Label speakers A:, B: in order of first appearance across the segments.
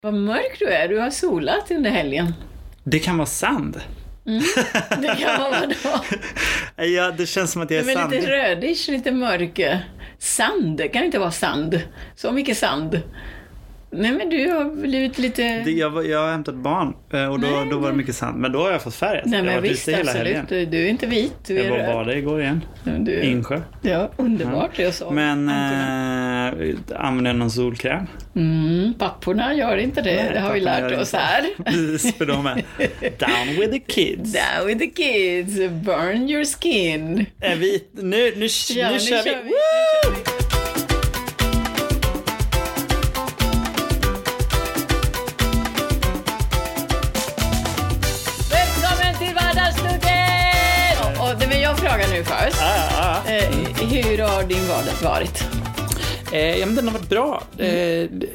A: Vad mörk du är, du har solat under helgen.
B: Det kan vara sand.
A: Det kan vara vadå?
B: Ja, det känns som att jag är
A: Men
B: sandig.
A: lite rödish, lite mörk. eh, Sand, det kan inte vara sand. Så mycket sand. Nej men du har blivit lite...
B: Det- Jag, var- jag har hämtat barn eh, och då,
A: Nej,
B: då var det mycket sand. Men då har jag fått färg. alltså.
A: Nej
B: jag
A: men
B: har varit
A: visst,
B: ute hela
A: absolut.
B: helgen.
A: Du, du är inte vit, du
B: Jag
A: är
B: var och
A: röd.
B: badade igår igen.
A: Du,
B: Insjö.
A: ja, underbart, jag sa
B: Men
A: Antorna.
B: eh, använder jag någon solkräm?
A: Mm, papporna gör inte det,
B: Nej,
A: det har vi
B: papporna
A: lärt
B: gör
A: oss
B: inte.
A: här.
B: Precis, för de är down with the kids.
A: Down with the kids, burn your skin.
B: Är Eh, vi, nu, nu,
A: Ja,
B: nu kör vi!
A: Nu kör
B: Woo!
A: vi. Välkommen till Vardagsstugan! Och, och, nej, men jag frågar nu först.
B: Ah, ah, ah.
A: Eh, hur har din vardag varit?
B: Eh, ja, men den har varit bra.
A: Mm.
B: Eh, det,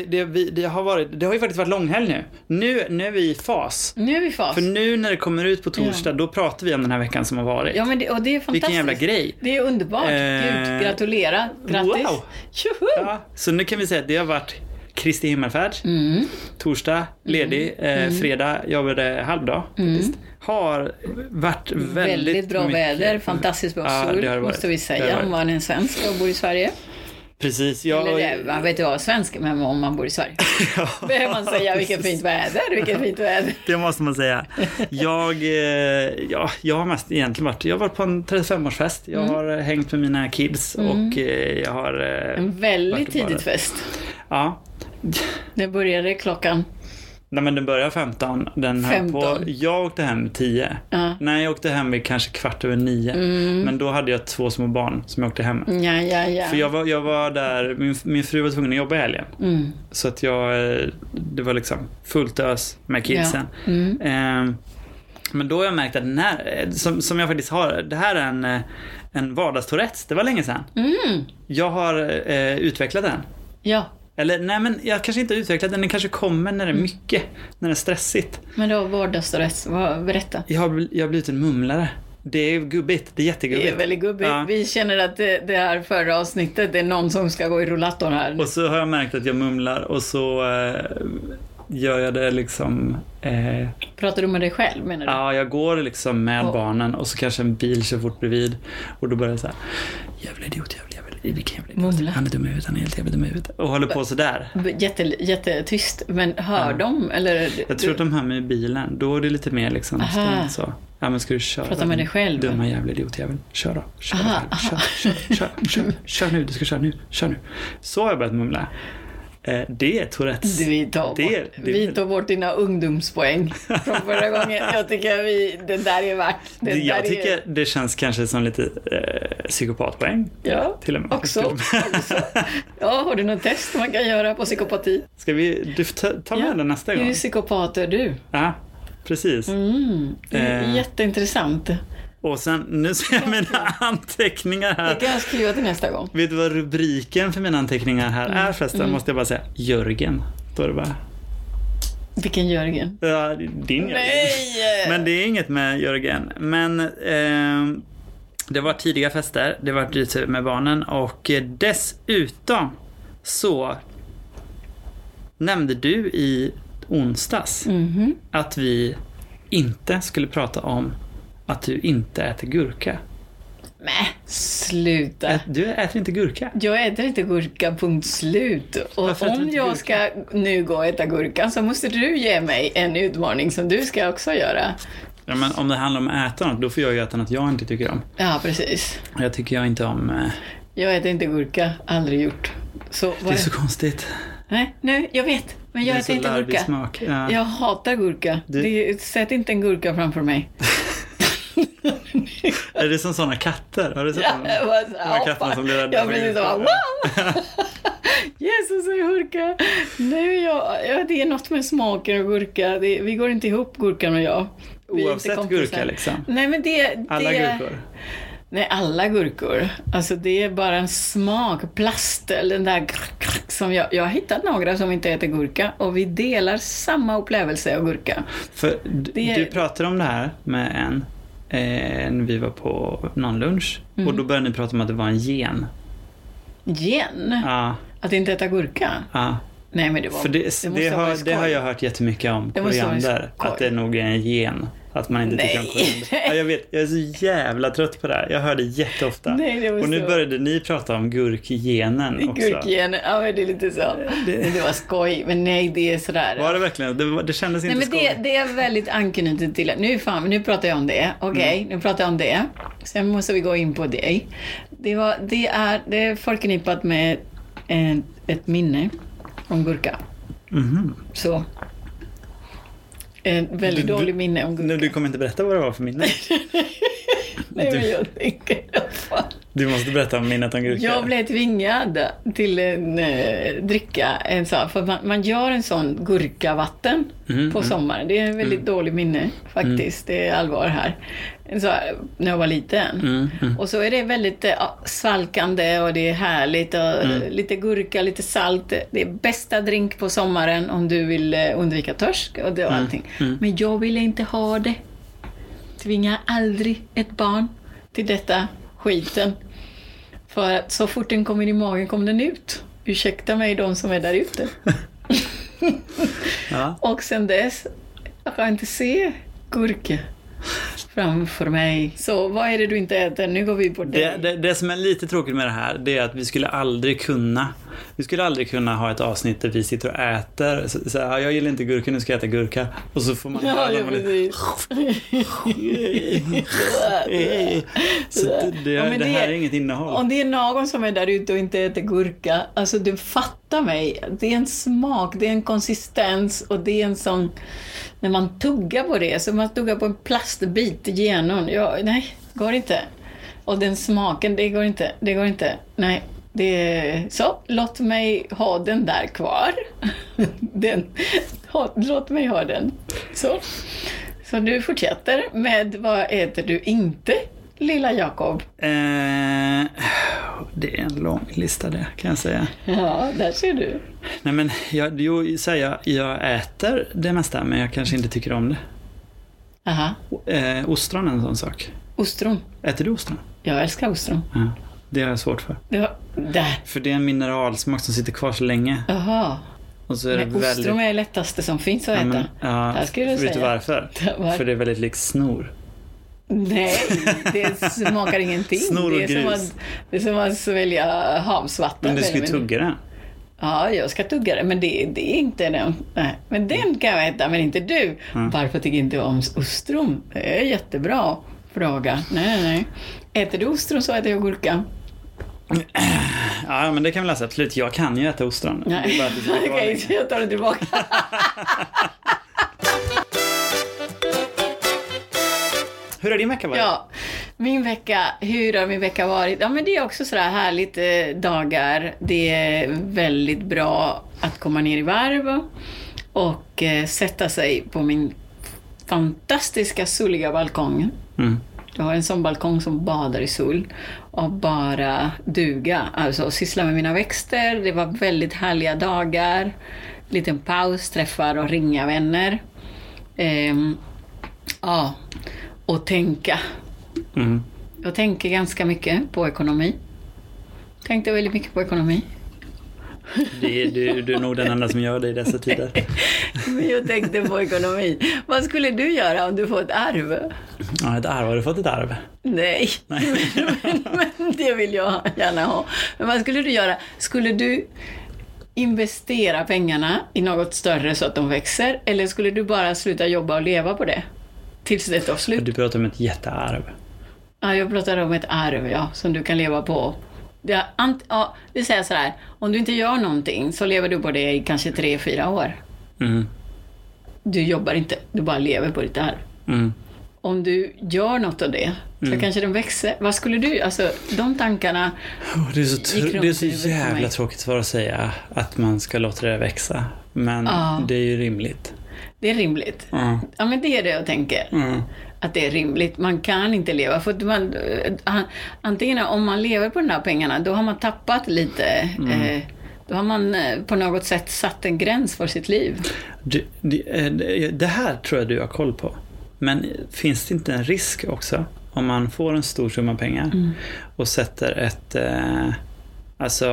B: det, det, vi, det, har varit, det har ju faktiskt varit långhelg nu. nu. Nu är vi i fas.
A: Nu är vi i fas.
B: För nu när det kommer ut på torsdag, då pratar vi om den här veckan som har varit.
A: Ja, men det, och det är fantastiskt.
B: Vilken jävla grej.
A: Det är underbart.
B: Eh,
A: Gud, gratulera. Grattis.
B: wow.
A: Tjoho!
B: Ja, så nu kan vi säga att det har varit Kristi himmelfärd.
A: Mm. Mm.
B: Torsdag ledig, eh, fredag jobbade halvdag. faktiskt. Har varit väldigt,
A: Väldigt, bra
B: mycket-
A: väder, fantastiskt bra
B: Ja,
A: sol,
B: det har det varit.
A: måste vi
B: Det
A: säga
B: har det
A: om man är en svensk och bor i Sverige.
B: Precis. Jag,
A: Eller det, man vet inte vad svensk, men om man bor i Sverige. Behöver man säga vilket fint väder, vilket fint väder.
B: Det måste man säga. Jag, eh, ja, jag har mest egentligen varit, jag har varit på en 35-årsfest. Jag
A: Mm.
B: har eh, hängt med mina kids och eh, jag har, eh,
A: En
B: Vart
A: väldigt
B: det bara-
A: tidigt fest.
B: ja.
A: Det började klockan,
B: Nej men den börjar 15. Den höll på,
A: 15.
B: jag åkte hem 10.
A: ja,
B: Nej jag åkte hem vid kanske kvart över 9.
A: Mm.
B: Men då hade jag två små barn som jag åkte hem med.
A: ja, ja, ja.
B: För jag var, jag var där, min, min fru var tvungen att jobba i helgen.
A: Mm.
B: Så att jag, eh, det var liksom fullt ös med kidsen.
A: Ja. Mm.
B: Ehm, Men då har jag märkt att den här, eh, som, som jag faktiskt har, det här är en, eh, en vardagstourettes. Det var länge sedan.
A: Mm.
B: Jag har eh, utvecklat den.
A: Ja,
B: Eller nej men jag kanske inte har utvecklat den, den kanske kommer när det är mycket. När det är stressigt.
A: men då vardagsstress, vad- berätta.
B: Jag har, bl- jag har blivit en mumlare. Det är gubbigt, det är jättegubbigt.
A: Det är väldigt gubbigt.
B: Ja.
A: Vi känner att det, det här förra avsnittet, det är någon som ska gå i rullatorn här.
B: Och så har jag märkt att jag mumlar och så eh, gör jag det liksom eh,
A: Pratar du med dig själv menar du?
B: Ja, jag går liksom med
A: Ja.
B: barnen och så kanske en bil kör fort bredvid och då börjar jag så här. Jävla idiot, jävla jävla vilken jävla idiot.
A: Mumla.
B: Han är dum i huvudet, han är helt jävla dum i huvudet. Och håller på sådär.
A: B- Jätte, jättetyst, men hör de? Eller,
B: Jag tror att de hör mig i bilen. Då är det lite mer liksom
A: Aha.
B: så. Ja men ska du köra?
A: Prata med dig själv.
B: Dumma jävla idiotjävel. Kör då. Kör,
A: Aha,
B: då. Kör, kör, kör, kör, kör nu. Du ska köra nu. Kör nu. Så har jag börjat mumla. Eh, Det är Tourettes.
A: Du, Vi tar,
B: Det-
A: bort,
B: det-
A: vi tar bort dina ungdomspoäng från förra gången. Jag tycker vi, det där är värt. Det
B: Det-
A: där
B: Jag
A: är-
B: tycker det känns kanske som lite eh, psykopatpoäng.
A: Ja,
B: Till och med. Till och
A: också.
B: med.
A: också. Ja, har du något test man kan göra på psykopati?
B: Ska vi du, får ta, ta med
A: Ja.
B: den nästa gång?
A: Hur psykopat är du?
B: Ja, precis.
A: Mm, det är
B: Eh.
A: Jätteintressant.
B: Och sen, nu ser jag mina anteckningar
A: Det
B: här.
A: kan jag skriva till nästa gång.
B: Vet du vad rubriken för mina anteckningar här är
A: Mm.
B: förresten? Måste jag bara säga. Jörgen. Då är det bara.
A: Vilken Jörgen.
B: Ja, din Jörgen.
A: Nej!
B: Men det är inget med Jörgen. Men ehm, det var tidiga fester, det var lite med barnen och eh, dessutom så nämnde du i onsdags
A: Mhm.
B: att vi inte skulle prata om att du inte äter gurka.
A: Mäh, sluta.
B: Ä- Du äter inte gurka.
A: Jag äter inte gurka, punkt slut. Och
B: Varför äter du
A: om
B: inte
A: jag
B: gurka?
A: ska nu gå och äta gurka så måste du ge mig en utmaning som du ska också göra.
B: Ja, men om det handlar om att äta något, då får jag ju äta något jag inte tycker om.
A: Ja, precis.
B: Och Jag tycker jag inte om... eh,
A: Jag äter inte gurka, aldrig gjort. Så vad
B: Det är så konstigt.
A: Nej, nej, jag vet. Men jag
B: det är så
A: äter inte
B: larvig
A: gurka.
B: smak. Ja.
A: Jag hatar gurka.
B: Du-
A: Det, sätt inte en gurka framför mig.
B: Är det som sådana katter? Har du sett
A: Ja,
B: dem?
A: jag bara så här,
B: Mm. De här katterna
A: hoppar.
B: som blir rädda
A: Jag
B: för
A: precis
B: gurka.
A: bara wow! Jesus, en gurka! Nej, jag, ja, det är något med smaken av gurka. Det, vi går inte ihop, gurkan och jag. Vi är inte
B: Oavsett
A: kompisar.
B: gurka liksom.
A: Nej, men det...
B: Alla
A: det,
B: gurkor.
A: Nej, alla gurkor. Alltså det är bara en smak, plast, eller den där grr, grr, som jag, jag har hittat några som inte äter gurka och vi delar samma upplevelse av gurka.
B: För d-
A: Det-
B: du pratade om det här med en eh, när vi var på någon lunch
A: Mm.
B: och då började ni prata om att det var en gen.
A: Gen,
B: Ja,
A: att inte äta gurka.
B: ja.
A: Nej, men det var...
B: Ah, För det, det,
A: måste ha varit
B: har, det
A: skoj.
B: har jag hört jättemycket om,
A: Det måste ha varit
B: koriander.
A: skoj.
B: Att det nog är en gen. Att man inte tycker om
A: Nej.
B: koriander. Ja, jag vet, jag är så jävla trött på det här. Jag hör det jätteofta.
A: Nej, det var
B: Och nu
A: så.
B: började ni prata om gurkgenen också.
A: Gurkgener, ja men det är lite så. Det, var skoj, men nej det är sådär.
B: Var det verkligen? Det, var- det kändes
A: Nej,
B: inte
A: men det, det är väldigt anknutet till... Nu, fan, nu pratar jag om det.
B: Mm.
A: Okej, nu pratar jag om det. Sen måste vi gå in på dig. Det, var, det, är, det är förknippat med ett, ett minne om gurka.
B: Mhm.
A: Så. Ett väldigt
B: Du- du-
A: dåligt minne om gurka.
B: Nu, du kommer inte berätta vad det var för minne.
A: Nej, men
B: du-
A: jag tänker... Fan.
B: Du måste berätta om minnet om gurka.
A: Jag blev tvingad till en eh, dricka, en sån, för man, man gör en sån gurkavatten
B: Mm,
A: på sommaren. Det är en väldigt dålig minne faktiskt, det är allvar här. En sån, här, när jag var liten.
B: Mm, mm.
A: Och så är det väldigt eh, ja, svalkande och det är härligt och
B: Mm.
A: eh, lite gurka, lite salt. Det är bästa drink på sommaren om du vill eh, undvika törsk och,
B: Mm.
A: det och allting. Men jag ville inte ha det. Tvinga aldrig ett barn till detta skiten. För att så fort den kommer i magen kommer den ut. Ursäkta mig de som är där ute.
B: Ja.
A: Och sen dess jag kan jag inte se gurka framför mig. Så vad är det du inte äter? Nu går vi på dig.
B: Det, det, det som är lite tråkigt med det här, det är att vi skulle aldrig kunna Vi skulle aldrig kunna ha ett avsnitt där vi sitter och äter. Så, så här, jag gillar inte gurka, nu ska jag äta gurka. Och så får man
A: Ja,
B: höra
A: ja
B: dem och lite-
A: precis.
B: Så det, det,
A: Ja,
B: det,
A: men
B: här är
A: det-
B: inget innehåll.
A: Om det är någon som är där ute och inte äter gurka, alltså du fattar mig. Det är en smak, det är en konsistens och det är en sån... När man tuggar på det, så man tuggar på en plastbit genom. Ja, nej, går inte. Och den smaken, det går inte. Det går inte. Nej. Det är, så, låt mig ha den där kvar. Den, ha, låt mig ha den. Så. så du fortsätter med vad äter du inte, lilla Jakob?
B: Eh, det är en lång lista det, kan jag säga.
A: Ja, där ser du.
B: Nej men, jag, jo, så här, jag, jag äter det mesta, men jag kanske inte tycker om det.
A: Aha.
B: Eh, ostron är en sån sak.
A: Ostron.
B: Äter du ostron?
A: Jag älskar ostron.
B: Ja, det har jag svårt för.
A: Det var... Där.
B: För det är en mineralsmak som sitter kvar så länge.
A: Jaha.
B: Och så är det
A: Men
B: väldigt...
A: ostron är det lättaste som finns att
B: Ja, men,
A: äta.
B: ja,
A: Där skulle jag
B: vet du
A: säga.
B: varför?
A: Det var-
B: För det är väldigt likt snor.
A: Nej, det smakar ingenting.
B: Snor och
A: det, är som
B: gris.
A: att, det är som att svälja havsvatten.
B: Men du ska ju
A: Men-
B: tugga den.
A: Ja, jag ska tugga det, men det, det är inte den. Nej, men den kan jag äta, men inte du.
B: Mm.
A: Varför tycker inte jag om ostron? Det är en jättebra fråga. Nej, nej, nej. Äter du ostron så äter jag gurka.
B: Ja, men det kan vi läsa. Absolut, jag kan ju äta ostron. Det är
A: Nej,
B: bara att det sitter kvar
A: okej,
B: länge.
A: så jag tar det tillbaka.
B: Hur har din vecka varit?
A: Ja, min vecka, hur har min vecka varit? Ja, men det är också sådär härligt eh, dagar. Det är väldigt bra att komma ner i varv och eh, sätta sig på min fantastiska soliga balkong.
B: Mm.
A: Jag har en sån balkong som badar i sol och bara duga, alltså syssla med mina växter. Det var väldigt härliga dagar. Liten paus, träffar och ringa vänner. Ehm, ja, och tänka.
B: Mm.
A: Jag tänker ganska mycket på ekonomi. Tänkte väldigt mycket på ekonomi.
B: Det är, du, du är nog den enda som gör det i dessa tider.
A: Men jag tänkte på ekonomi. Vad skulle du göra om du får ett arv?
B: Ja, ett arv. Har du fått ett arv?
A: Nej,
B: Nej.
A: men, men det vill jag gärna ha. Men vad skulle du göra? Skulle du investera pengarna i något större så att de växer? Eller skulle du bara sluta jobba och leva på det? Tills det tar slut?
B: Du pratar om ett jättearv.
A: Ja, jag pratar om ett arv, ja, som du kan leva på. Det, ant, ja, vi säger så här, om du inte gör någonting så lever du på det i kanske tre, fyra år.
B: Mm.
A: Du jobbar inte, du bara lever på ditt arv.
B: Mm.
A: Om du gör något av det, så kanske den växer. Vad skulle du, alltså de tankarna,
B: Åh, Det är så, tr-
A: Gick runt
B: det är så
A: i huvudet på
B: jävla
A: mig.
B: tråkigt svar att säga att man ska låta det växa. Men
A: Ja.
B: det är ju rimligt.
A: det är rimligt.
B: Mm.
A: Ja, men det är det jag tänker.
B: Mm.
A: Att det är rimligt. Man kan inte leva. För att man, eh, an- antingen om man lever på de där pengarna, då har man tappat lite. Eh, då har man eh, på något sätt satt en gräns för sitt liv.
B: Du, det, eh, det- det här tror jag du har koll på. Men finns det inte en
A: Mm.
B: risk också om man får en stor summa pengar och sätter ett, eh, Alltså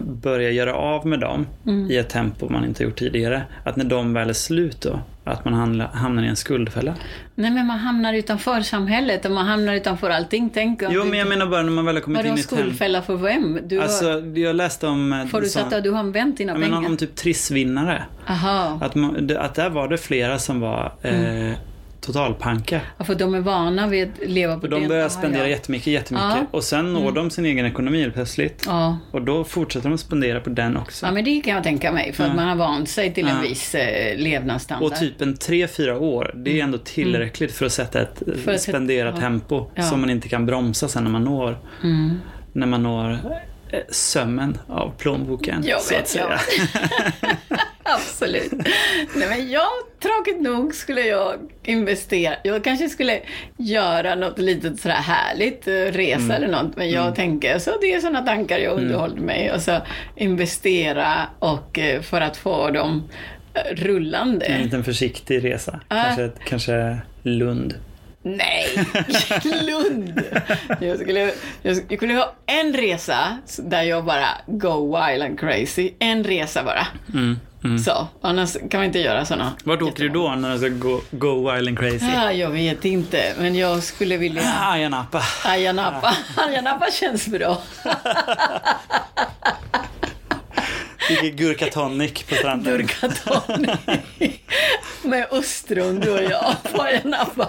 B: börja göra av med dem
A: Mm.
B: i ett tempo man inte gjort tidigare. Att när de väl är slut då, att man handla, hamnar i en skuldfälla.
A: Nej, men man hamnar utanför samhället och man hamnar utanför allting. Tänk om
B: Jo,
A: du-
B: men jag menar bara när man väl har kommit
A: Vadå
B: in i ett hem.
A: skuldfälla för vem? Du har,
B: Alltså, jag läste om... eh,
A: förutsatt
B: så-
A: att du har använt dina
B: jag
A: pengar.
B: menar om typ trissvinnare.
A: Aha.
B: Att, man, det- att där var det flera som var
A: Mm.
B: eh, totalpanka.
A: Ja, för de är vana vid att leva på
B: För de börjar
A: börjar
B: spendera jättemycket, jättemycket.
A: Ja. Mm.
B: Och sen når de sin egen ekonomi helt plötsligt.
A: Ja.
B: Och då fortsätter de spendera på den också.
A: ja, men det kan jag tänka mig. För att man har vant sig till en viss eh, levnadsstandard.
B: Och typ en 3-4 år, det är ändå tillräckligt för att sätta ett eh,
A: Mm. För att-
B: spenderat
A: ja.
B: tempo
A: Ja.
B: som man inte kan bromsa sen när man når,
A: Mm.
B: när man når eh, sömmen av plånboken.
A: Jag
B: så
A: vet,
B: att säga.
A: jag Absolut. Nej, men jag, tråkigt nog, skulle jag investera. Jag kanske skulle göra något litet sådär härligt, eh, resa
B: Mm.
A: eller något. Men jag tänker, så det är sådana tankar jag underhåller mig. Och så investera och eh, för att få dem eh, rullande.
B: En liten försiktig resa. Kanske, ett- kanske Lund.
A: Nej, Lund! Jag skulle, jag skulle ha en resa där jag bara go wild and crazy. En resa bara. Så, annars kan man inte göra sådana.
B: Mm, Vart åker du då när du ska gå, go wild and crazy?
A: Ah, jag vet inte, men jag skulle vilja...
B: Ah, Ayia Napa.
A: Ayia Napa. Ayia Napa känns bra.
B: Dricker gurka tonic på stranden.
A: Burkatoni. Med ostron, du och jag, på Ayia Napa.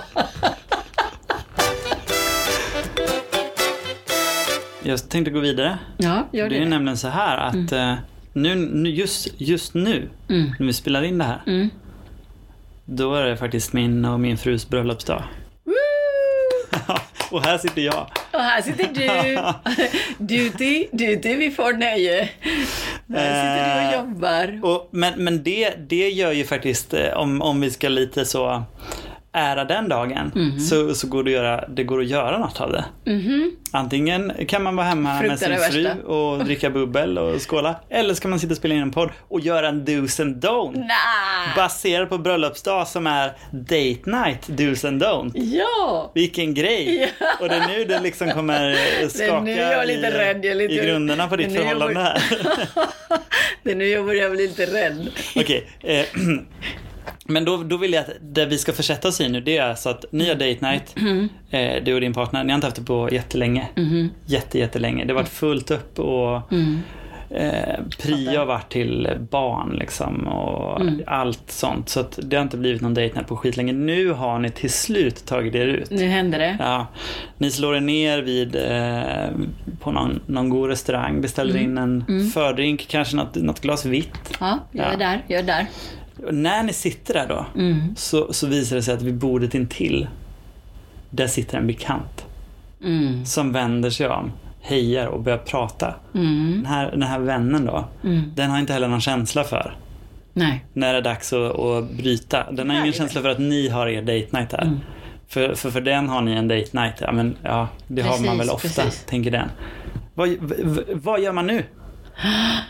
B: Jag tänkte gå vidare.
A: Ja, gör
B: Det är
A: det.
B: nämligen så här att eh, nu, nu, just, just nu, när vi spelar in det här, då är det faktiskt min och min frus bröllopsdag.
A: Woo!
B: och här sitter jag.
A: Och här sitter du. Duty, duty, vi får nöje. Här sitter
B: Eh.
A: du och jobbar.
B: Och, men men det, det gör ju faktiskt, eh, om, om vi ska lite så ära den dagen, så, så går det, att göra, det går att göra något av det. Mhm. Antingen kan man vara hemma med
A: Fruktar
B: sin
A: det
B: fru
A: värsta.
B: och dricka bubbel och skåla. Eller ska man sitta och spela in en podd och göra en dos and don't.
A: Nah.
B: Baserad på bröllopsdag som är date night, dos and don't.
A: Ja!
B: Vilken grej! Och det är nu det liksom kommer eh, skaka
A: nu jag är lite
B: i,
A: rädd, jag är lite-
B: i grunderna på ditt
A: det är nu jag
B: förhållande här.
A: Det är nu jag börjar bli lite rädd.
B: Okej. Eh, men då, då vill jag att det vi ska försätta oss i nu det är alltså att ni har date night, eh, du och din partner. Ni har inte haft det på jättelänge.
A: Mm.
B: Jätte, jättelänge. Det har varit fullt upp och eh, prio har varit till barn liksom och allt sånt. Så att det har inte blivit någon date night på skitlänge. Nu har ni till slut tagit er ut.
A: Nu händer det.
B: Ja, ni slår er ner vid, eh, på någon, någon god restaurang, beställer in en fördrink, kanske något, något glas vitt.
A: Ja, jag är
B: Ja.
A: där, jag är där. Mm,
B: Och när ni sitter där då, så, så visar det sig att vid bordet intill, där sitter en bekant
A: Mm.
B: som vänder sig om, hejar och börjar prata.
A: mm,
B: Den, här, den här vännen då, den har inte heller någon känsla för
A: Nej.
B: när det är dags att, att bryta. Den har ingen
A: Nej.
B: känsla för att ni har er date night där.
A: Mm.
B: För, för, för den har ni en date night. Ja, men, ja det har man
A: Precis,
B: väl ofta,
A: precis.
B: tänker den. Vad, v, vad gör man nu?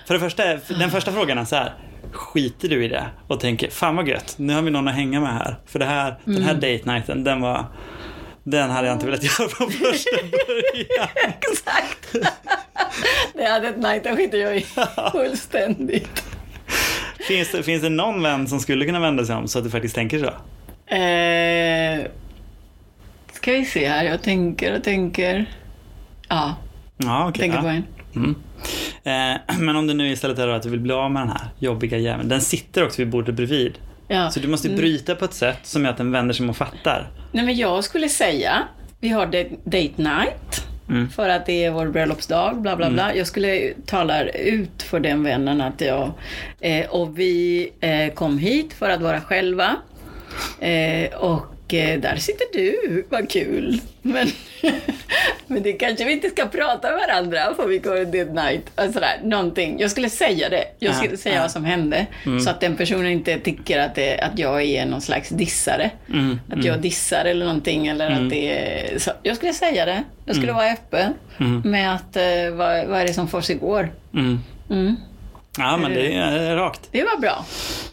B: För det första, är- den första frågan är så här. Skiter du i det och tänker, fan vad gött, nu har vi någon att hänga med här. För det här, den
A: Mm.
B: här date nighten, den var... Den hade jag inte velat göra från första början.
A: Exakt! Det hade ett night, det skiter jag i fullständigt.
B: Finns det, finns det någon vän som skulle kunna vända sig om så att du faktiskt tänker så?
A: Eh, ska vi se här, jag tänker och tänker. Ja,
B: Ja, okej.
A: tänker
B: ja.
A: på en.
B: Mm. Eh, men om du nu istället är då att du vill bli av med den här jobbiga jäveln. Den sitter också vid bordet bredvid.
A: Ja.
B: Så du måste
A: Mm.
B: bryta på ett sätt som gör att den vänder sig om och fattar.
A: Nej, men jag skulle säga, vi har de- date night.
B: Mm.
A: För att det är vår bröllopsdag, bla bla bla. Jag skulle tala ut för den vännen att jag... Eh, och vi eh, kom hit för att vara själva. Eh, och eh, där sitter du, vad kul. Men, men det kanske vi inte ska prata med varandra för vi går en date night. Och sådär, någonting. Jag skulle säga det. Jag skulle
B: Ja,
A: säga
B: ja. Mm.
A: vad som hände. Så att den personen inte tycker att, det, att jag är någon slags dissare.
B: Mm.
A: att jag dissar eller någonting. Eller att det är, så jag skulle säga det. Jag
B: Mm.
A: skulle vara öppen med att eh, vad, vad är det som försiggår.
B: Mm.
A: Mm.
B: Ja, men det är eh, rakt.
A: Det var bra.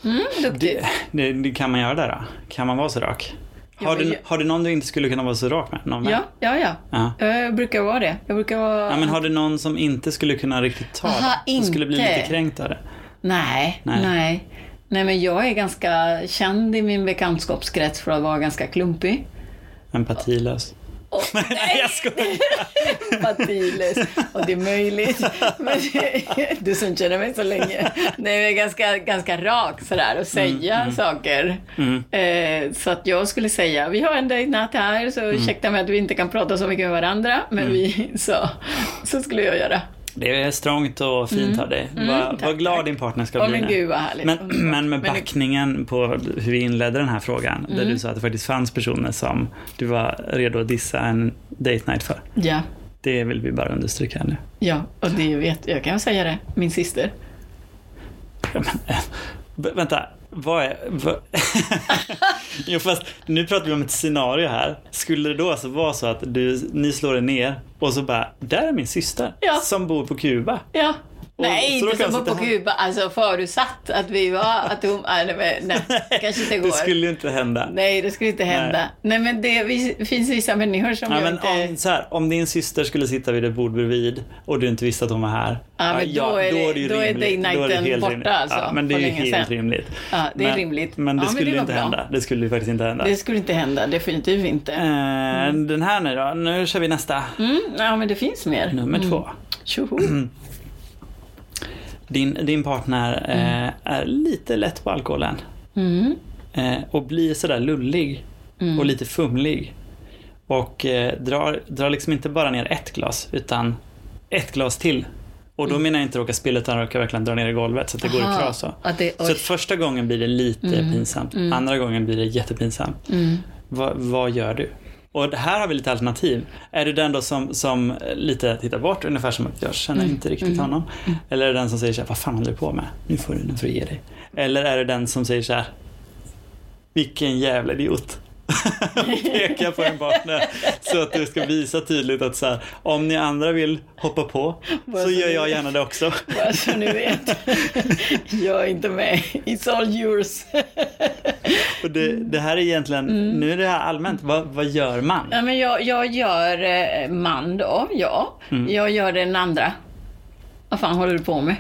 A: Mm, duktigt.
B: Det, det, det kan man göra där då? Kan man vara så rak? Har
A: Jag-
B: du, har du någon du inte skulle kunna vara så rak med? Någon med?
A: Ja, ja, ja.
B: Ja.
A: Jag brukar vara det. Jag brukar vara...
B: Ja, men har du någon som inte skulle kunna riktigt ta
A: Aha,
B: det? Som skulle bli
A: inte.
B: lite kränkt av det?
A: Nej,
B: Nej.
A: nej, nej. men jag är ganska känd i min bekantskapskrets för att vara ganska klumpig.
B: Empatilös.
A: Och,
B: Nej, jag skojar.
A: Patiles. Och det är möjligt. Men du som känner mig så länge. Nej, men jag är ganska, ganska rak sådär och säga saker.
B: Mm.
A: Eh, så att jag skulle säga, vi har en dejtnatt här
B: Mm.
A: så ursäkta mig att vi inte kan prata så mycket med varandra. Men vi, så, så skulle jag göra.
B: Det är strongt och fint av dig. Vad
A: Mm. tack,
B: vad glad
A: tack.
B: din partner ska
A: Åh
B: bli
A: men
B: nu.
A: gud vad härligt.
B: Men,
A: Underbart.
B: men med
A: Men det- Mm.
B: backningen på hur vi inledde den här frågan, där du sa att det faktiskt fanns personer som du var redo att dissa en date night för.
A: Ja,
B: Det vill vi bara understryka här nu.
A: ja, och det vet jag, kan säga det, min syster.
B: Ja, men, eh, vä- vänta, vad är... Vad... jo, fast nu pratar vi om ett scenario här. Skulle det då alltså vara så att du, ni slår er ner och så bara, där är min syster
A: Ja.
B: som bor på Kuba.
A: Ja.
B: Och
A: nej,
B: så då
A: inte
B: kan
A: som
B: jag
A: på
B: sitta här.
A: Kuba. Alltså förutsatt att vi var, att hon, nej, nej, men- nej, kanske inte går.
B: Det skulle ju inte hända.
A: Nej, det skulle inte hända. Nej, men det vi- finns vissa människor som
B: Ja,
A: jag
B: men
A: inte...
B: om, så här, om din syster skulle sitta vid ett bord bredvid och du inte visste att hon var här.
A: Ja, men då är det-
B: ju
A: då är
B: rimligt.
A: date nighten
B: helt
A: borta
B: rimligt.
A: alltså,
B: Ja, men det
A: för
B: är ju
A: länge
B: helt
A: sedan.
B: rimligt.
A: Ja, det är
B: men,
A: rimligt.
B: Men det
A: Ja, men
B: skulle
A: det
B: ju
A: var
B: inte
A: bra.
B: hända. Det skulle ju faktiskt inte hända.
A: Det Mm. skulle inte hända, definitivt inte.
B: Eh, Den här nu då. Nu kör vi nästa.
A: Mm, ja, men det finns mer. Mm.
B: Nummer två. Mm.
A: Tjoho!
B: Din, din partner eh, är lite lätt på alkoholen
A: Mm.
B: eh, och blir sådär lullig och lite fumlig. Och eh, drar, drar liksom inte bara ner ett glas utan ett glas till. Och då menar jag inte råka spilla utan råka verkligen dra ner i golvet så att det går i
A: Mm. Aha,
B: kras. Så
A: Att det,
B: Så
A: oj.
B: att första gången blir det lite pinsamt, andra gången blir det jättepinsamt.
A: Mm.
B: Vad, vad gör du? Och det här har vi lite alternativ. Är du den då som, som lite tittar bort, ungefär som att jag känner inte riktigt honom. Eller är du den som säger så här, vad fan håller du på med? Nu får du, nu får du ge dig. Eller är du den som säger så här, vilken jävla idiot. Och pekar på en partner så att du ska visa tydligt att så här, om ni andra vill hoppa på så gör jag gärna det också.
A: Bara så Alltså, ni vet. jag är inte med. It's all yours.
B: Och det, det här är egentligen, nu är det här allmänt, vad, vad gör man?
A: Nej, men jag, jag gör eh, man då, ja.
B: Mm.
A: Jag gör den andra. Vad fan håller du på med?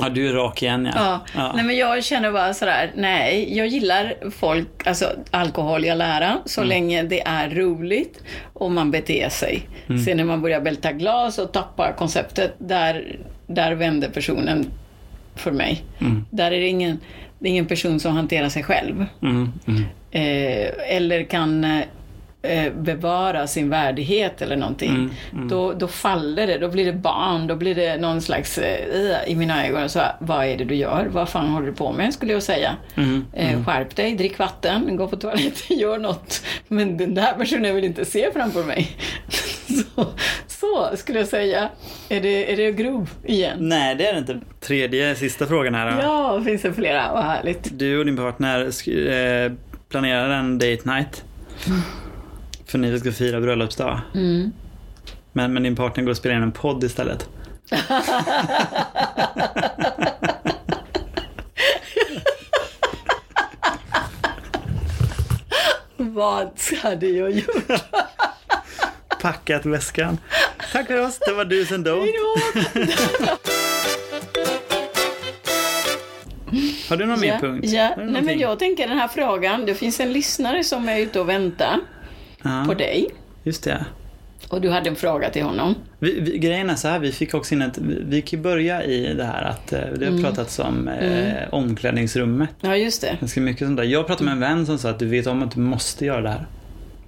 B: Ja, du är rak igen ja.
A: Ja. Nej, men jag känner bara sådär, nej, jag gillar folk, alltså alkohol i all ära, så länge det är roligt och man beter sig. Sen när man börjar bälta glas och tappa konceptet, där, där vänder personen för mig. Där är det ingen, det är ingen person som hanterar sig själv.
B: Mm, mm.
A: eh, eller kan eh, bevara sin värdighet eller någonting, Då, då faller det. Då blir det barn, då blir det någon slags eh, i mina ögon. Så, här, vad är det du gör? Vad fan håller du på med? skulle jag säga.
B: Mm.
A: Eh, skärp dig, drick vatten, gå på toaletten, gör något. Men den där personen vill inte se framför mig. så, så skulle jag säga. Är det, är det grov igen?
B: Nej, det är det inte. Tredje, sista frågan här då.
A: Ja, finns det flera. Vad härligt.
B: Du och din partner sk- eh, planerar en date night. För ni ska fira bröllopsdag. Men, men din partner går och spelar in en podd istället.
A: Vad hade jag gjort?
B: Packat väskan. Tack för oss, det var du sen då. Har du någon mer
A: Ja,
B: punkt?
A: ja.
B: Har du
A: Nej, men
B: någonting?
A: jag tänker den här frågan. Det finns en lyssnare som är ute och väntar
B: Ja,
A: på dig.
B: just det.
A: Och du hade en fråga till honom.
B: Vi, vi, grejen är så här, vi fick också in ett, vi, vi kan ju börja i det här att eh, det har
A: Mm.
B: pratats om eh, omklädningsrummet.
A: Ja, just det.
B: Ganska mycket sånt där. Jag pratade med en vän som sa att du vet om att du måste göra det här.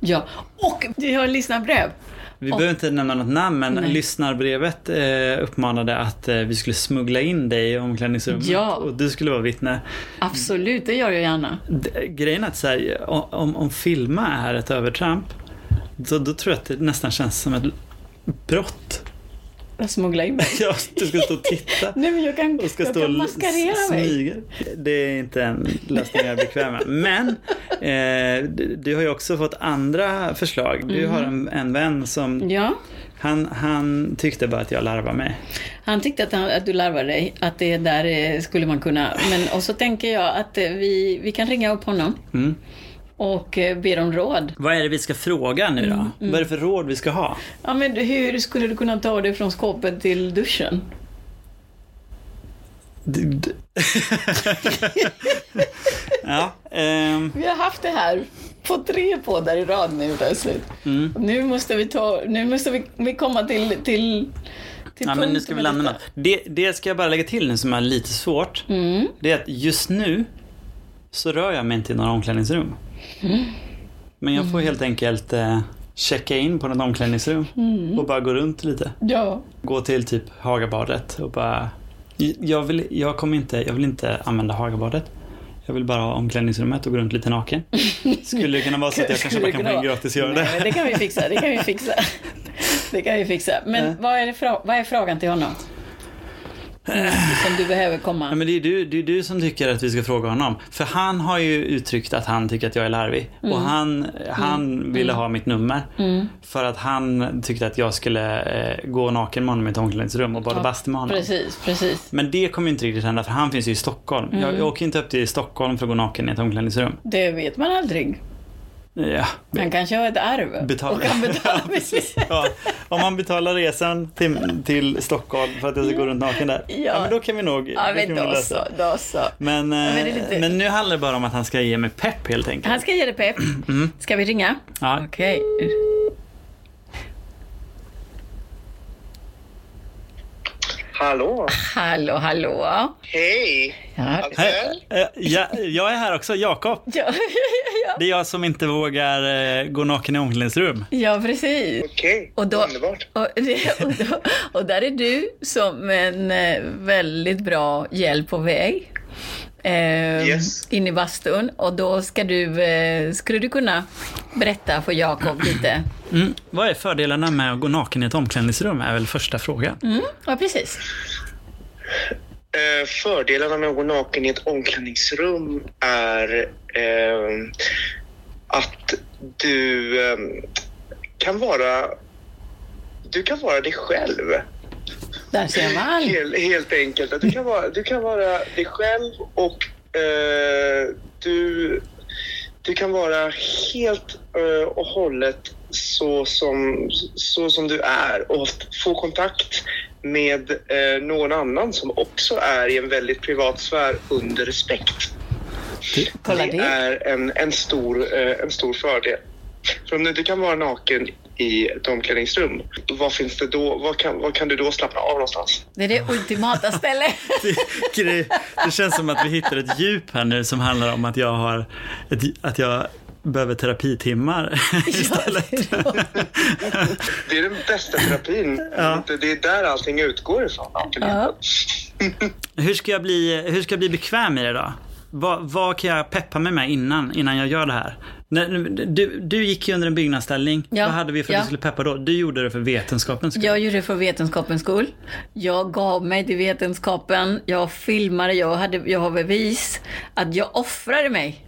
A: Ja. Och jag har lyssnarbrev.
B: Vi behöver inte nämna något namn men
A: Nej.
B: lyssnarbrevet eh, uppmanade att eh, vi skulle smuggla in dig i omklädningsrummet
A: Ja.
B: och du skulle vara vittne.
A: Absolut, det gör jag gärna.
B: D- grejen är att så här, o- om, om filma är ett övertramp då, då tror jag att det nästan känns som ett brott.
A: Jag smugglar in mig.
B: Ja, du ska stå och titta.
A: Nej, men jag kan,
B: Och ska
A: jag
B: stå
A: kan
B: och
A: maskerera
B: s-
A: mig.
B: smyga. Det är inte en lösning jag är bekväm med. Men eh, du, du har ju också fått andra förslag. Du har en, en vän som
A: Mm. Ja.
B: han, han tyckte bara att jag larvar mig.
A: Han tyckte att, han, att du larvar dig, att det där eh, skulle man kunna... Men, och så tänker jag att eh, vi, vi kan ringa upp honom.
B: Mm.
A: och eh, ber om råd.
B: Vad är det vi ska fråga nu
A: Mm,
B: då? Vad är det för råd vi ska ha?
A: Ja, men hur skulle du kunna ta dig från skåpet till duschen?
B: ja, ehm,
A: Vi har haft det här på tre poddar i rad nu plötsligt.
B: mm.
A: Nu måste vi ta, nu måste vi, vi komma till, till, till
B: ja, men nu
A: punkten
B: ska vi
A: med
B: landa med.
A: detta.
B: Det, det ska jag bara lägga till nu som är lite svårt.
A: Mm.
B: Det är att just nu så rör jag mig inte i några omklädningsrum.
A: Mm.
B: Men jag får helt enkelt eh, checka in på något omklädningsrum
A: Mm.
B: och bara gå runt lite.
A: Ja.
B: Gå till typ Hagabadet och bara... Jag, vill, jag, kommer inte, jag vill inte använda Hagabadet. Jag vill bara ha omklädningsrummet och gå runt lite naken. Skulle det kunna vara så att jag kanske bara kan få en gratis göra
A: Nej, men
B: det?
A: det kan vi fixa, det kan vi fixa. Det kan vi fixa. Men
B: Ja.
A: vad, är det fra, vad är frågan till honom? Som du behöver
B: Ja,
A: komma.
B: men det är ju du, det är du som tycker att vi ska fråga honom. För han har ju uttryckt att han tycker att jag är larvig. Och han, han ville ha mitt nummer.
A: Mm.
B: För att han tyckte att jag skulle eh, gå naken med honom i ett omklädningsrum och bada
A: Ja,
B: bastu med honom.
A: Precis, precis.
B: Men det kommer ju inte riktigt hända för han finns ju i Stockholm. Jag, jag åker ju inte upp till Stockholm för att gå naken i ett omklädningsrum.
A: Det vet man aldrig.
B: Ja,
A: Han kanske har ett arv.
B: Betala.
A: Och kan betala.
B: Ja, om man betalar resan till, till Stockholm för att jag ska gå runt naken där. Ja,
A: Ja.
B: men då kan vi nog,
A: Ja,
B: då kan
A: men
B: vi nog
A: då
B: lösa.
A: så, då så.
B: Men, eh,
A: men det är lite-
B: men nu handlar det bara om att han ska ge mig pepp helt enkelt. Mm.
A: Han ska ge dig pepp. Ska vi ringa?
B: Ja,
A: Okej.
C: Hallå!
A: Hallå, hallå.
C: Hej! Alltså,
A: Ja.
C: Axel?
B: Eh, ja, jag är här också, Jakob.
A: Ja, ja.
B: Det är jag som inte vågar eh, gå naken i omklädningsrum.
A: ja precis.
C: Okej,
A: Och då-
C: underbart.
A: Och, det- och, då, och där är du som en eh, väldigt bra hjälp på väg. Eh,
C: Yes.
A: In i bastun. Och då ska du, eh, skulle du kunna berätta för Jakob lite?
B: Mm. Vad är fördelarna med att gå naken i ett omklädningsrum är väl första frågan.
A: Mm, ja, precis.
C: Eh, fördelarna med att gå naken i ett omklädningsrum är ehm, att du ehm, kan vara du kan vara dig själv.
A: Där ser man.
C: Hel, helt enkelt. Att Du kan, vara, du kan vara dig själv och eh, du, du kan vara helt eh, och hållet så som, så som du är och f- få kontakt med eh, någon annan som också är i en väldigt privat sfär under respekt.
A: Kolla
C: Det
A: det.
C: är en, en, stor, eh, en stor fördel. För om du inte kan vara naken i ett omklädningsrum, vad, finns det då, vad, kan, vad kan du då slappna av någonstans?
A: Det är det ultimata stället.
B: tycker det, det känns som att vi hittar ett djup här nu som handlar om att jag har ett, att jag behöver terapitimmar istället.
C: Det är den bästa terapin. Det det är där allting utgår ifrån.
A: Ja. Mm,
B: Hur ska jag bli, hur ska jag bli bekväm i det då? Vad, vad kan jag peppa mig med innan, innan jag gör det här? När, du, du gick ju under en byggnadsställning.
A: Ja,
B: Vad hade vi för att
A: ja.
B: du skulle peppa då? Du gjorde det för vetenskapens skull.
A: Jag gjorde det för vetenskapens skull. Jag gav mig till vetenskapen. Jag filmade, jag, hade, jag har bevis att jag offrade mig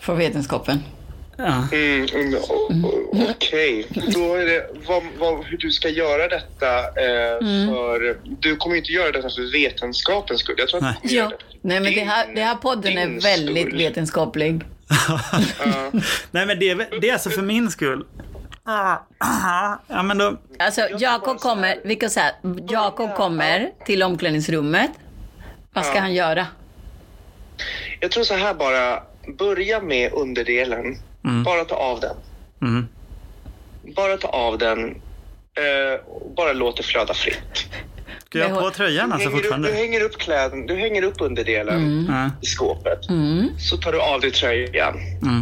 A: för vetenskapen.
B: Ja.
C: Mm, mm, o- o- Okej, då är det vad, vad, hur du ska göra detta eh,
A: Mm.
C: för... Du kommer ju inte göra detta för vetenskapens skull. Jag tror att du kommer
A: Ja.
C: göra detta för
A: Nej men det här,
C: din-
A: det här podden
C: din
A: är väldigt
C: skull.
A: vetenskaplig.
B: Nej men det, är väl- det är alltså för min skull. Ah, Ja men då,
A: Alltså Jakob kommer, vi kan säga, Jakob kommer till omklädningsrummet. Vad ska han göra?
C: Jag tror så här bara, börja med underdelen. Bara ta av den.
B: Mm.
C: Bara ta av den. Eh, och bara låt det flöda fritt.
B: ska jag
A: Men
B: ha på
A: hon-
B: tröjan alltså
C: hänger upp, du
B: fortfarande?
C: hänger upp kläden, du hänger upp underdelen
A: Mm.
B: Ja.
C: i skåpet. Så tar du av dig tröjan.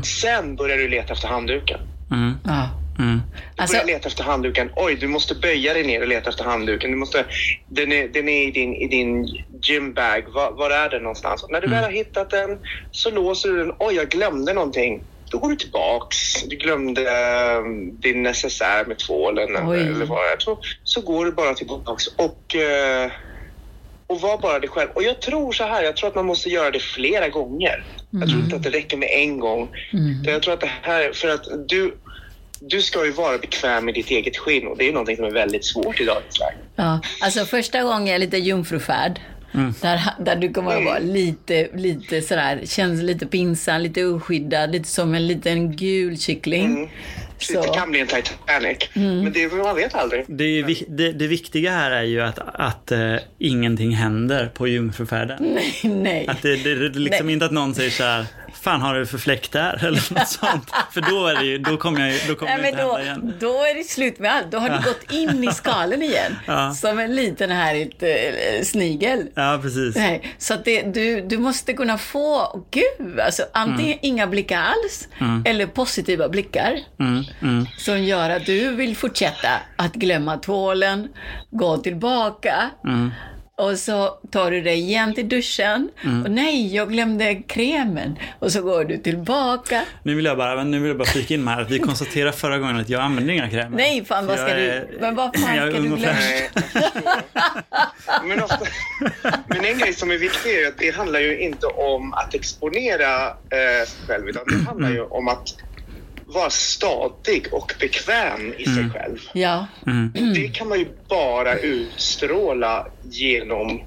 C: Sen börjar du leta efter handduken.
B: Mm,
A: Ja.
B: mm.
C: Du
A: Alltså,
C: börjar leta efter handduken. Oj, du måste böja dig ner och leta efter handduken. Du måste, den är, den är i din, i din gymbag. Var, var är den någonstans? Och när du väl har hittat den så låser du den. Oj, jag glömde någonting. Då går du tillbaks. Du glömde eh, din necessär med tvålen eller,
A: Oj.
C: eller vad det är. Så, så går du bara tillbaks och, eh, och var bara dig själv. Och jag tror så här, jag tror att man måste göra det flera gånger. Jag tror inte att det räcker med en gång. Utan Jag tror att det här, för att du, du ska ju vara bekväm i ditt eget skinn och det är någonting som är väldigt svårt i dagens läge.
A: ja. alltså första gången är lite jungfrufärd.
B: Mm.
A: Där, ha- där du kommer att vara lite, lite sådär, känns lite pinsam, lite oskyddad, lite som en liten gul kyckling.
B: Mm.
C: Så. Det kan bli en Titanic. Men det, man vet aldrig.
B: Det, är ju vi, det, det viktiga här är ju att, att eh, ingenting händer på jungfrufärden.
A: Nej, nej.
B: Att det, det, det är liksom
A: Nej.
B: inte att någon säger så här, fan har du för fläkt där? Eller något sånt. För då, är det ju, då kommer jag ju, då kommer
A: Nej,
B: det
A: men
B: inte
A: då,
B: hända igen.
A: då är det slut med allt. Då har du gått in i skalen igen.
B: Ja.
A: Som en liten härligt eh, snigel.
B: Ja, precis.
A: Nej, så att det, du, du måste kunna få, gud, alltså antingen inga blickar alls eller positiva blickar
B: Mm, mm.
A: som gör att du vill fortsätta att glömma tvålen, gå tillbaka
B: Mm.
A: och så tar du dig igen till duschen.
B: Mm.
A: Och nej, jag glömde krämen. Och så går du tillbaka.
B: Nu vill jag bara, nu vill jag bara flika in här att vi konstaterade förra gången att jag använder inga krämer.
A: Nej, fan vad
B: Jag
A: ska du...
B: är-
A: Men vad fan
B: jag är
A: ska
B: ung
A: du
B: och
A: glömma?
B: fräsch.
C: Nej, jag förstår. men, ofta, men en grej som är viktig är ju att det handlar ju inte om att exponera eh, sig själv utan det handlar ju om att vara stadig och bekväm i sig själv.
A: Ja,
B: Mm,
C: Det kan man ju bara utstråla genom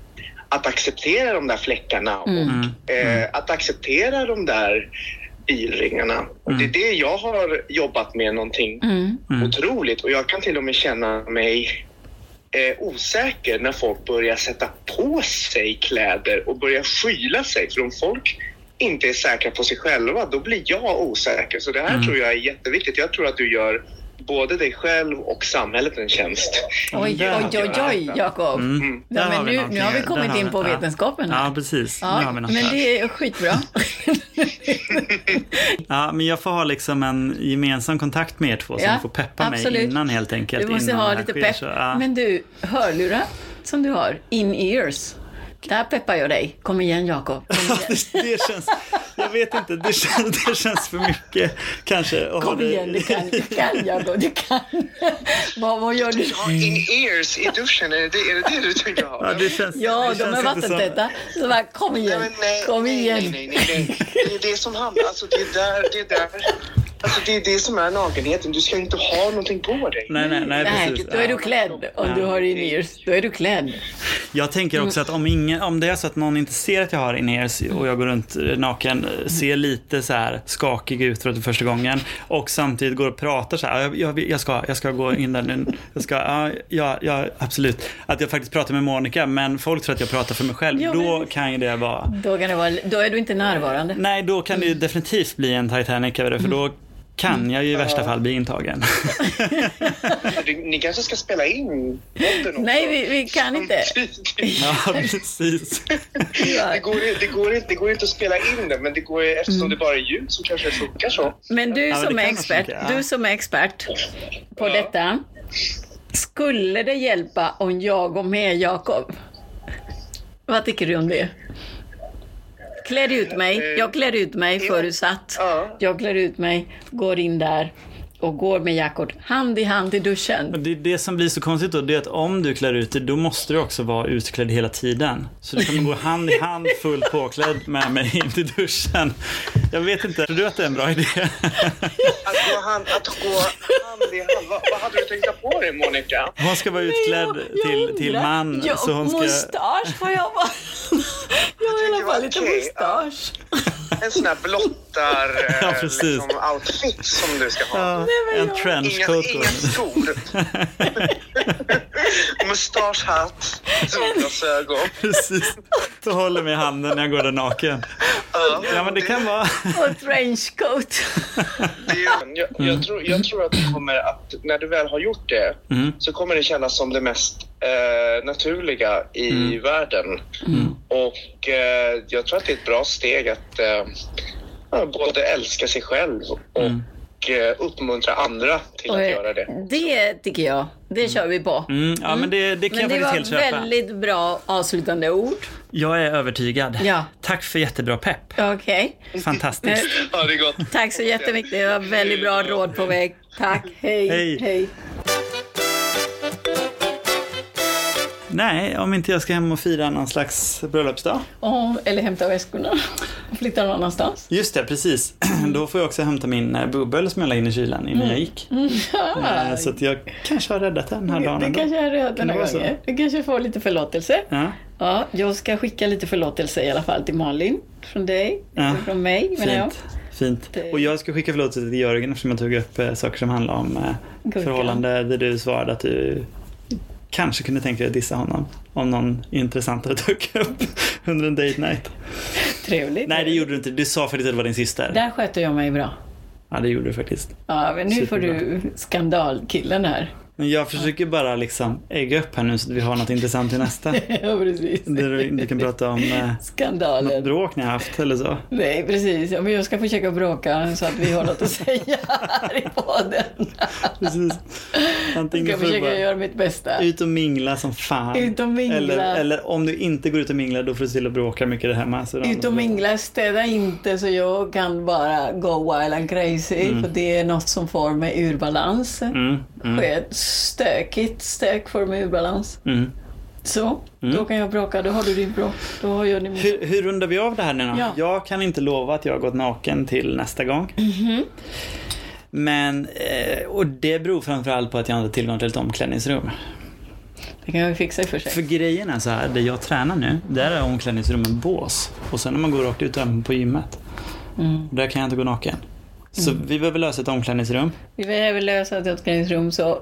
C: att acceptera de där fläckarna och
B: Mm.
C: eh, att acceptera de där bilringarna. Och det är det jag har jobbat med någonting
A: Mm.
B: Mm.
C: otroligt och jag kan till och med känna mig eh, osäker när folk börjar sätta på sig kläder och börjar skyla sig. För om folk inte är säkra på sig själva, då blir jag osäker. Så det
B: Mm.
C: här tror jag är jätteviktigt. Jag tror att du gör både dig själv och samhället en tjänst.
A: oj,
B: där-
A: oj, oj, oj, Jakob.
B: Mm.
A: Ja,
B: Där
A: men nu,
B: någonting.
A: nu har vi
B: Där
A: kommit
B: har
A: in
B: vi-
A: på
B: ja.
A: vetenskapen. här.
B: Ja, precis.
A: Ja,
B: nu har vi något
A: men
B: där.
A: det är skitbra.
B: Ja, men jag får ha liksom en gemensam kontakt med er två
A: Ja,
B: som får peppa mig
A: absolut.
B: innan helt enkelt.
A: Du måste
B: innan
A: ha
B: det här
A: lite
B: sker,
A: pepp.
B: så, ja.
A: Men du, hörlurar som du har, in-ears. Där peppar jag dig. Kom igen Jakob. Kom igen.
B: Det känns, jag vet inte, det känns, det känns för mycket kanske. att ha
A: Kom
B: det-
A: igen, du kan, du kan Jakob, du kan. Vad, vad gör du?
C: Ja, in-ears i duschen, är det det, är det, det du tänker ha?
B: Ja, det känns,
A: Ja,
B: det
A: de
B: känns
A: är
B: inte som-
A: vattentäta. Så bara, kom
C: Nej,
A: igen,
C: men nej,
A: kom
C: nej,
A: igen.
C: Nej, nej, nej, nej. Det är det som handlar, alltså det är där, det är där. Alltså det är det som är nakenheten, du ska inte ha någonting på dig.
B: Nej, nej, nej,
A: Nej,
B: precis.
A: då är du
B: Ja.
A: klädd om du har in-ears. Då är du klädd.
B: Jag tänker också att om, ingen, om det är så att någon inte ser att jag har in-ears och jag går runt eh, naken, eh, ser lite så här skakig ut för första gången och samtidigt går och pratar så här, "Ja, jag, jag, jag, ska, jag ska gå in där nu, jag ska, ja, ja, ja, absolut. Att jag faktiskt pratar med Monica, men folk tror att jag pratar för mig själv,
A: Ja, men- Mm.
B: då kan ju det vara
A: Då, kan det vara, då är du inte närvarande.
B: Nej, då kan det ju definitivt bli en Titanic över det, för då kan jag ju i värsta fall bli intagen.
C: Du, ni kanske ska spela in podden också?
A: Nej, vi, vi kan inte.
B: ja, precis.
C: Det går, det, går inte, det går inte att spela in det, men det går, eftersom
A: Mm.
C: det bara är ljud så kanske det funkar så.
A: Men du
B: Ja, det
A: som är
B: kan man
A: expert,
B: tänka, ja.
A: du som är expert på detta. Skulle det hjälpa om jag går med Jakob? Vad tycker du om det? Klär ut mig. Jag klär ut mig förutsatt.
C: Eh, Ja.
A: Jag klär ut mig, går in där och går med Jakob hand i hand i duschen.
B: Det, det som blir så konstigt då, det är att om du klär ut dig, då måste du också vara utklädd hela tiden. Så du kommer gå hand i hand, fullt påklädd med mig in till duschen. Jag vet inte, tror du att det är en bra idé?
C: Att gå hand, att gå hand i hand, vad, vad hade du tänkt ta på dig Monica?
B: Hon ska vara utklädd till, till
A: undrar.
B: man,
A: Jag,
B: så hon ska...
A: Mustasch får jag vara. jag har i alla fall lite
C: Okej, ja.
A: mustasch.
C: En sån här blottar eh,
B: Ja, precis.
C: liksom, outfit som du ska ha.
B: Ja, en
C: Inga,
B: trenchcoat.
C: inga skor. Mustaschhatt, solglasögon.
B: Precis. Du håller mig i handen när jag går där naken.
C: Ja,
B: Ja, men det kan vara...
A: Och trenchcoat.
C: det är- jag, jag, tror, jag tror att det kommer att, när du väl har gjort det, så kommer det kännas som det mest eh, naturliga i världen. Och eh, jag tror att det är ett bra steg att eh, ja, både älska sig själv och eh, uppmuntra andra till att göra det.
A: Det tycker jag. Det kör vi på.
B: Mm, ja, men det, det kan
A: Men
B: jag
A: det
B: faktiskt
A: var
B: helt köpa.
A: väldigt bra avslutande ord.
B: Jag är övertygad.
A: Ja.
B: Tack för jättebra pepp.
A: Okej.
B: Fantastiskt.
C: Ha det gott!
A: Tack så jättemycket. Det var väldigt bra råd på väg. Tack. Hej.
B: Hej.
A: Hej.
B: Nej, om inte jag ska hem och fira någon slags bröllopsdag.
A: Åh, eller hämta väskorna och flytta någon annanstans.
B: Just det, precis. Då får jag också hämta min eh, bubbel som jag la in i kylen innan
A: Mm.
B: jag gick. Eh, Så att jag kanske har räddat den här dagen
A: Det
B: ändå.
A: kanske är röd den här
B: vara så?
A: gången. Du kanske får lite förlåtelse.
B: Ja.
A: Ja, jag ska skicka lite förlåtelse i alla fall till Malin från dig.
B: Ja,
A: Från mig menar jag.
B: Fint. Fint.
A: Det-
B: Och jag ska skicka förlåtelse till Jörgen eftersom jag tog upp eh, saker som handlar om eh,
A: Gurka.
B: förhållande där du svarade att du kanske kunde tänka dig att dissa honom om någon intressantare dök upp under en date night.
A: Trevligt.
B: Nej, det gjorde du inte. Du sa faktiskt att det var din syster.
A: Där sköter jag mig bra.
B: Ja, det gjorde du faktiskt.
A: Ja, men nu får
B: Superbra.
A: du skandalkillen här.
B: Men jag försöker bara liksom ägga upp här nu så att vi har något intressant till nästa.
A: ja, precis.
B: Där du, du kan prata om eh, något
A: Skandalen.
B: bråk ni har haft eller så.
A: Nej, precis. Ja, men jag ska försöka bråka så att vi har något att säga här i podden.
B: Precis.
A: Jag
B: Antingen
A: ska
B: får du
A: försöka
B: bara
A: göra mitt bästa.
B: ut och mingla som fan.
A: Ut och mingla.
B: Eller, eller om du inte går ut och minglar då får du till att bråka mycket där hemma. Så
A: Ut och mingla, städa inte så jag kan bara go wild and crazy. För det är något som får mig ur balans.
B: Mm, mm,
A: Sker Stökigt stök får mig ur balans.
B: mm.
A: Så, då kan jag bråka. Då har du din bråk. Då har jag din bråk.
B: Hur, hur rundar vi av det här nu då?
A: Ja.
B: Jag kan inte lova att jag har gått naken till nästa gång.
A: Mhm.
B: Men, eh, och det beror framförallt på att jag inte har tillgång till ett omklädningsrum.
A: Det kan vi fixa i och för sig.
B: För grejen är så här, där jag tränar nu, där är omklädningsrummen bås. Och sen när man går rakt ut även på gymmet,
A: Mm.
B: där kan jag inte gå naken. Så vi behöver lösa ett omklädningsrum.
A: Vi behöver lösa ett omklädningsrum så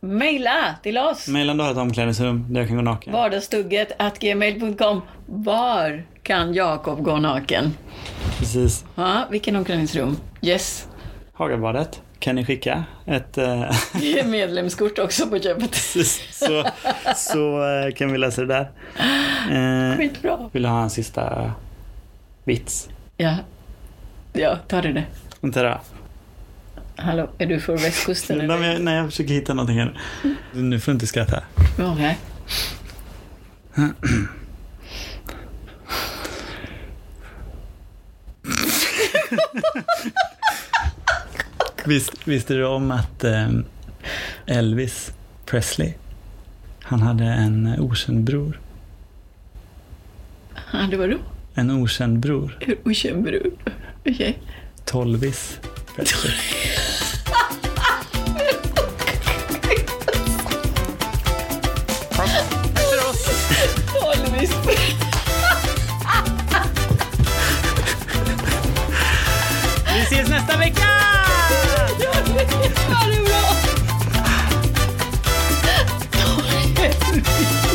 A: mejla till oss!
B: Mejla om du har ett omklädningsrum där jag kan gå naken.
A: Vardagsstugget at gmail.com. Var kan Jakob gå naken?
B: Precis.
A: Ja, vilken omklädningsrum? Yes.
B: Hagabadet kan ni skicka ett... eh,
A: Ge medlemskort också på köpet.
B: så, så eh, kan vi läsa det där. Eh,
A: Skitbra.
B: vill du ha en sista vits?
A: Ja. Ja, tar du det.
B: Vänta då.
A: Hallå, är Mm. du från västkusten?
B: Nej,
A: eller?
B: men jag, nej, jag försöker hitta någonting här. Nu får du inte skratta.
A: Okej.
B: Visst, visste du om att eh, Elvis Presley, han hade en okänd bror.
A: Ja, det var du.
B: En okänd bror.
A: Okänd brud. Okej.
B: Tolvis Presley.
A: Tolvis.
B: Vi ses nästa vecka!
A: Ja, det är bra. Tolvis.